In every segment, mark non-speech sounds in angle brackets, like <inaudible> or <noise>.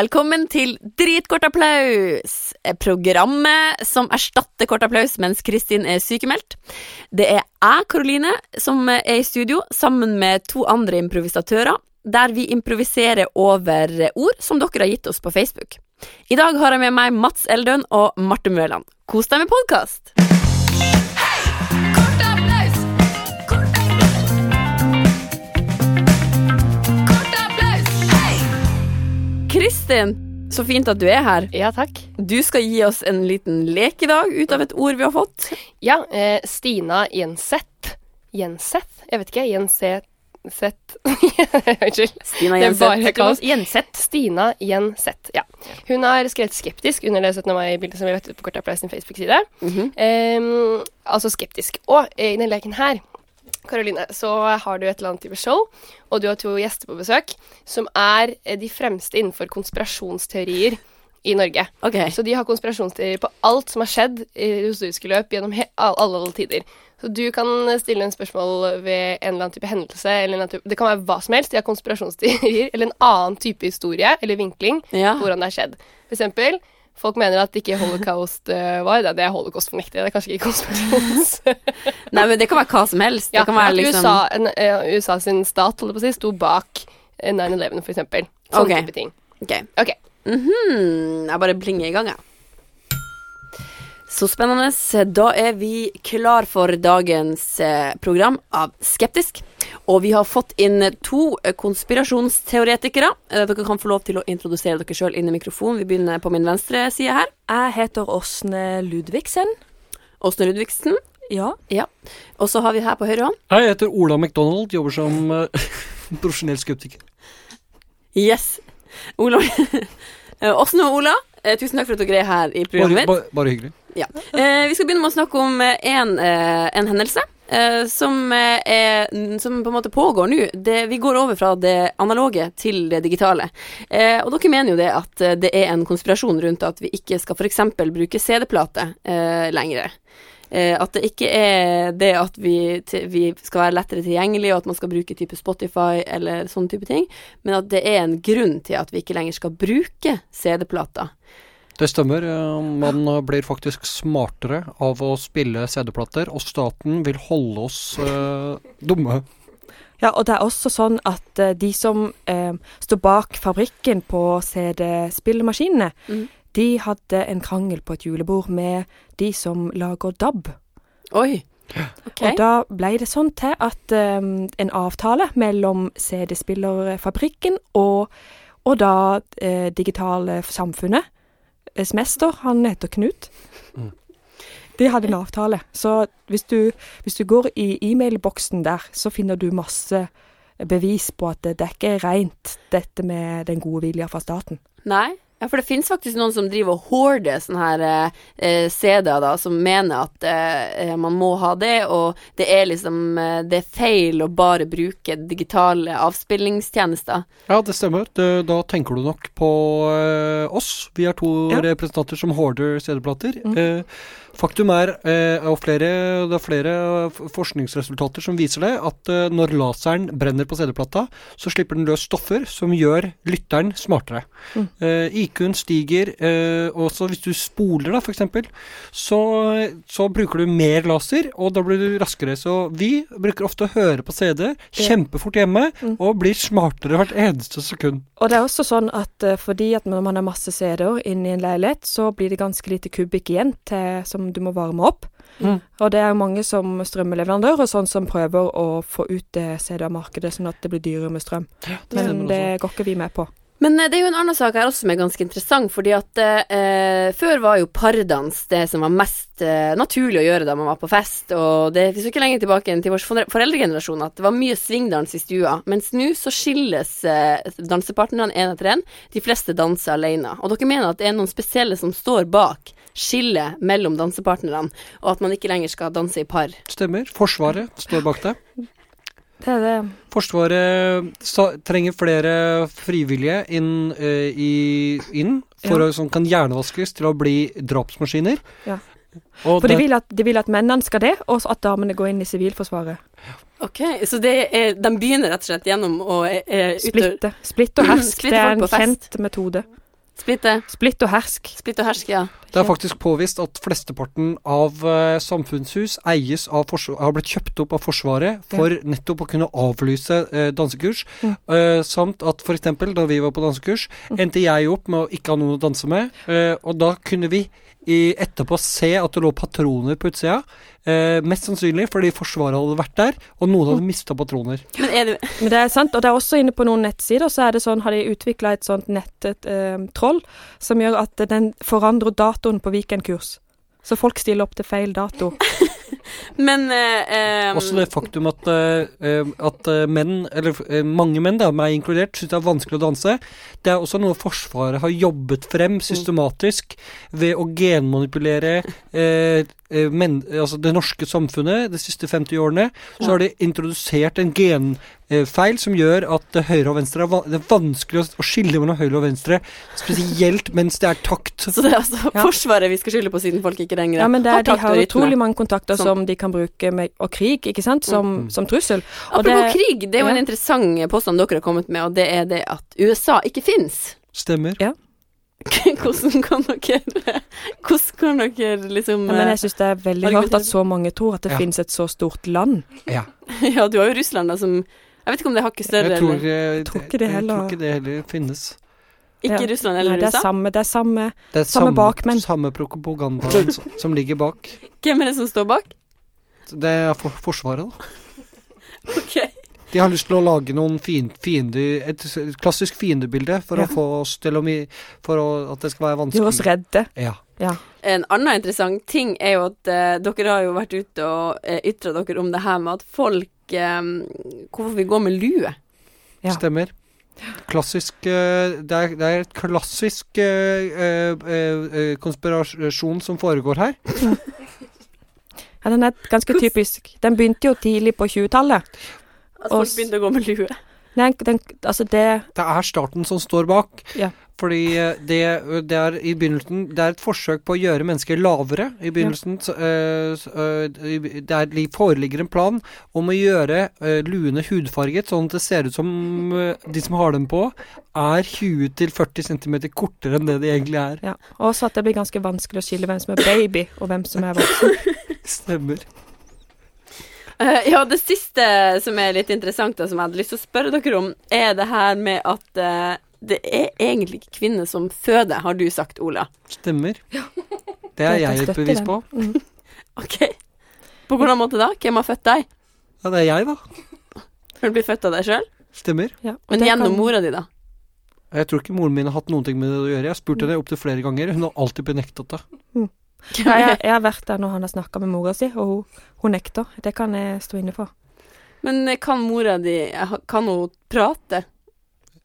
Velkommen til Dritkort applaus! eh, Programmet som erstatter kort applaus mens Kristin er sykemeldt. Det er jeg, Karoline, som eh, er i studio sammen med to andre improvisatører, der vi improviserer over eh, ord som dere har gitt oss på Facebook. I dag har jeg med meg Mats Eldøen og Marte Mørland. Kos deg med podkast! Kristin, så fint at du er her. Ja, takk. Du skal gi oss en liten lek i dag ut av et ord vi har fått. Ja, eh, Stina Jenseth. Jenseth? Jeg vet ikke. Jenseth <laughs> Unnskyld. Stina Det er bare kaos. Jenseth. Stina Jenseth, ja. Hun har skrevet 'skeptisk' under det 17. mai-bildet som vi lagt ut på Kort applaus sin Facebook-side. Mhm. Ehm, altså skeptisk. Og eh, i denne leken her, Karoline, så har du et eller annet type show, og du har to gjester på besøk som er eh, de fremste innenfor konspirasjonsteorier i Norge. Ok, Så de har konspirasjonsteorier på alt som har skjedd i historiske løp gjennom he all- alle, alle tider. Så du kan eh, stille en spørsmål ved en eller annen type hendelse. Eller en eller annen type, det kan være hva som helst. De har konspirasjonsteorier <laughs> eller en annen type historie eller vinkling ja. på hvordan det har skjedd. For eksempel, folk mener at ikke holocaust eh, var det. Det er holocaust-fornektere. Det er kanskje ikke konspirasjons... Nei, men det kan være hva som helst. ja, <laughs> det kan være at liksom... USA, en, eh, USA sin stat, holdt jeg på å si, sto bak eh, 9-11, for eksempel. Sånne Ok. type ting. Ok. Ok. Mhm, Jeg bare plinger i gang, jeg. Så spennende. Da er vi klar for dagens eh, program av Skeptisk. Og vi har fått inn to eh, konspirasjonsteoretikere. Eh, Dere kan få lov til å introdusere dere sjøl inn i mikrofonen. Vi begynner på min venstre side her. Jeg heter Åsne Eh, Ludvigsen. Åsne Ludvigsen. Ja. Og så har vi her på høyre hånd Hei, jeg heter Ola McDonald, jobber som eh, <laughs> profesjonell skeptiker. Yes. Ola. <laughs> Eh, Åsne og Ola, eh, tusen takk for at dere er her i programmet Bare, mitt. bare, bare hyggelig. Eh, vi skal begynne med å snakke om eh, en, eh, en hendelse eh, som, eh, er, som på en måte pågår nå. Det- Vi går over fra det analoge til det digitale. Eh, og dere mener jo det at eh, det er en konspirasjon rundt at vi ikke skal f.eks. bruke CD-plate eh, lenger. Eh, at det ikke er det at vi, til- vi skal være lettere tilgjengelig, og at man skal bruke type Spotify eller sånne type ting, men at det er en grunn til at vi ikke lenger skal bruke CD-plater. Det stemmer. eh, Man blir faktisk smartere av å spille CD-plater, og staten vil holde oss eh, dumme. ja. Og det er også sånn at eh, de som eh, står bak fabrikken på CD-spillemaskinene, Mhm. de hadde en krangel på et julebord med de som lager DAB. Oi. Og da ble det sånn til at eh, en avtale mellom CD-spillerfabrikken og, og da eh, digitale samfunnet eh, Deres mester, han heter Knut. Mm. De hadde en avtale. Så hvis du, hvis du går i e-mailboksen der, så finner du masse bevis på at det, det er ikke er rent, dette med den gode vilja fra staten. Nei. Ja, for det finnes faktisk noen som driver og hoarder sånne her eh, eh, CD-er, da, som mener at eh, eh, man må ha det, og det er liksom eh, Det er feil å bare bruke digitale avspillingstjenester. Ja, det stemmer. Det, da tenker du nok på eh, oss. Vi er to Ja. representanter som hoarder CD-plater. Mm. Eh, faktum er, eh, og flere, det er flere eh, f- forskningsresultater som viser det, at eh, når laseren brenner på CD-plata, så slipper den løs stoffer som gjør lytteren smartere. Mm. Eh, IQ-en stiger, eh, og så hvis du spoler da, for eksempel, så, så bruker du mer laser, og da blir du raskere. Så vi bruker ofte å høre på CD kjempefort hjemme, Mm. og blir smartere hvert eneste sekund. Og det er også sånn at eh, fordi at når man har masse CD-er inni en leilighet, så blir det ganske lite kubikk igjen til, som du må varme opp. Mm. Og det er jo mange som strømmeleverandører og sånn som prøver å få ut det CD-markedet, sånn at det blir dyrere med strøm. Men det sånn går ikke vi med på. Men eh, det er jo en annen sak her også som er ganske interessant, fordi at eh, før var jo pardans det som var mest eh, naturlig å gjøre da man var på fest, og det hvis du ikke lenger tilbake enn til vår fore- foreldregenerasjon at det var mye svingdans i stua, mens nå så skilles eh, dansepartnerne én etter én, de fleste danser alene, og dere mener at det er noen spesielle som står bak skillet mellom dansepartnerne, og at man ikke lenger skal danse i par. Stemmer. Forsvaret står bak det. Det er det. Forsvaret sa, trenger flere frivillige inn, eh, i, inn for Ja. å, som kan hjernevaskes til å bli drapsmaskiner. Ja. Og For de det, vil, at, de vil at mennene skal det, og at damene går inn i Sivilforsvaret. Ok, så de begynner rett og slett gjennom å Splitte. Splitt og hersk, Splitte det folk er en på fest. kjent metode. Splitte. Splitt og hersk. Splitte og herske, ja. Det er faktisk påvist at flesteparten av eh, samfunnshus eies av forsvar, har blitt kjøpt opp av Forsvaret for nettopp å kunne avlyse eh, dansekurs. Eh, samt at f.eks. da vi var på dansekurs, endte jeg opp med å ikke ha noen å danse med. eh, og da kunne vi i, etterpå se at det lå patroner på utsida. eh, mest sannsynlig fordi Forsvaret hadde vært der, og noen hadde mista patroner. Men er det Men det er sant, og det er også inne på noen nettsider så er det sånn, har de utvikla et sånt nettet eh, troll som gjør at den forandrer datoen på weekendkurs. Så folk stiller opp til feil dato. Men eh, eh, Også det faktum at, eh, eh, at eh, menn, eller eh, mange menn, da, meg inkludert, syns det er vanskelig å danse. Det er også noe Forsvaret har jobbet frem Mm. systematisk ved å genmanipulere eh, eh, menn, altså det norske samfunnet de siste 50 årene. Så har de introdusert en genfeil som gjør at det høyre og venstre er, va det er vanskelig å- å skille mellom høyre og venstre, spesielt mens det er <laughs> takt. Så det er altså Ja. Forsvaret vi skal skylde på, siden folk ikke lenger Ja, men det er, De takt og har rytme. utrolig mange kontakter Som- Mm. som de kan bruke, med, og krig, ikke sant, som, som trussel. Og Apropos det- krig, det er jo ja. en interessant påstand dere har kommet med, og det er det at USA ikke fins. Stemmer. <laughs> hvordan kan dere Hvordan kan dere liksom Ja, men jeg syns det er veldig rart at så mange tror at det Ja. finnes et så stort land. Ja. eh, <laughs> Ja, du har jo Russland, da, som Jeg vet ikke om det er hakket større Jeg tror, eller eh, tror ikke det jeg heller- tror ikke det heller finnes. Ikke ja. Russland Nei, eller det er USA. samme, det er samme Det er Samme samme, bakmenn. samme propagandaen som- som ligger bak. Hvem er det som står bak? Det er for Forsvaret, da. Ok. De har lyst til å lage noen fiend, fiende, et s- klassisk fiendebilde for Ja. å få oss til å mi- For å, at det skal være vanskelig. Gjør oss redde. Ja. En annen interessant ting er jo at eh, dere har jo vært ute og eh, ytra dere om det her med at folk eh, Hvorfor vi går med lue? Ja. Stemmer. Klassisk eh, Det er, det er et klassisk eh, eh, eh, konspirasjon som foregår her. Ja, den er ganske typisk. Den begynte jo tidlig på 20-tallet. At Og folk s- begynte å gå med lue. Den, den, altså det Det er starten som står bak. Ja. Fordi eh, det, det er i begynnelsen Det er et forsøk på å gjøre mennesker lavere i begynnelsen. så, eh, så, eh, i- det er, det foreligger en plan om å gjøre eh, luene hudfarget, sånn at det ser ut som eh, de som har dem på, er 20-40 cm kortere enn det de egentlig er. Ja. Også at det blir ganske vanskelig å skille hvem som er baby, og hvem som er voksen. Stemmer. Eh, Ja, det siste som er litt interessant, og som jeg hadde lyst til å spørre dere om, er det her med at eh, det er egentlig ikke kvinner som føder, har du sagt, Ola. Stemmer. Det er Jeg kan jeg et støtte bevis den. på. OK? På hvordan måte da? Hvem har født deg? Ja, det er jeg, da. Har du blitt født av deg sjøl? Stemmer. Ja, og Men det gjennom kan- mora di, da? Jeg tror ikke moren min har hatt noen ting med det å gjøre. Jeg har spurt henne opptil flere ganger. Hun har alltid benektet det. <laughs> Ja, jeg, jeg har vært der når han har snakka med mora si, og hun, hun nekter. Det kan jeg stå <laughs> inne for. <laughs> Men eh, kan mora di Kan hun prate?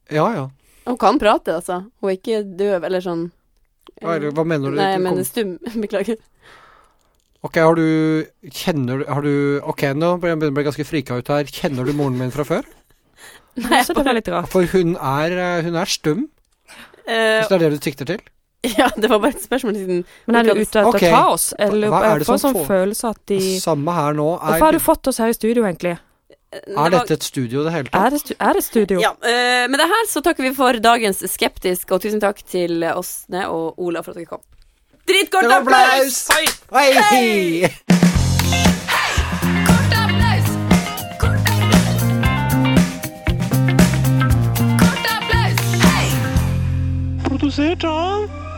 Ja, ja. Hun kan prate, altså. Hun er ikke døv eller sånn. Hva, er det- hva mener du? Nei, jeg Kom- mener stum. <laughs> Beklager. Ok, har du Kjenner du har du, Ok, nå begynner jeg å bli ganske frika ut her. Kjenner du moren min fra før? <laughs> Nei, Så det var litt rart. For hun er, eh, hun er stum, <laughs> eh, hvis det er det du sikter til? ja, det var bare et spørsmål siden Men er du ute etter Ok. å ta oss? Eller Hva- hva er jeg det får en som sånn får- følelse at de Samme her nå. Hvorfor har Er, du fått oss her i studio, egentlig? Eh, det er var- dette et studio i det hele tatt? Er det, stu er det studio? Ja, eh, Med det her så takker vi for dagens Skeptisk, og tusen takk til Åsne og Ola for at dere kom. Dritkort Det var applaus! applaus! Hei! Hei! Produsert av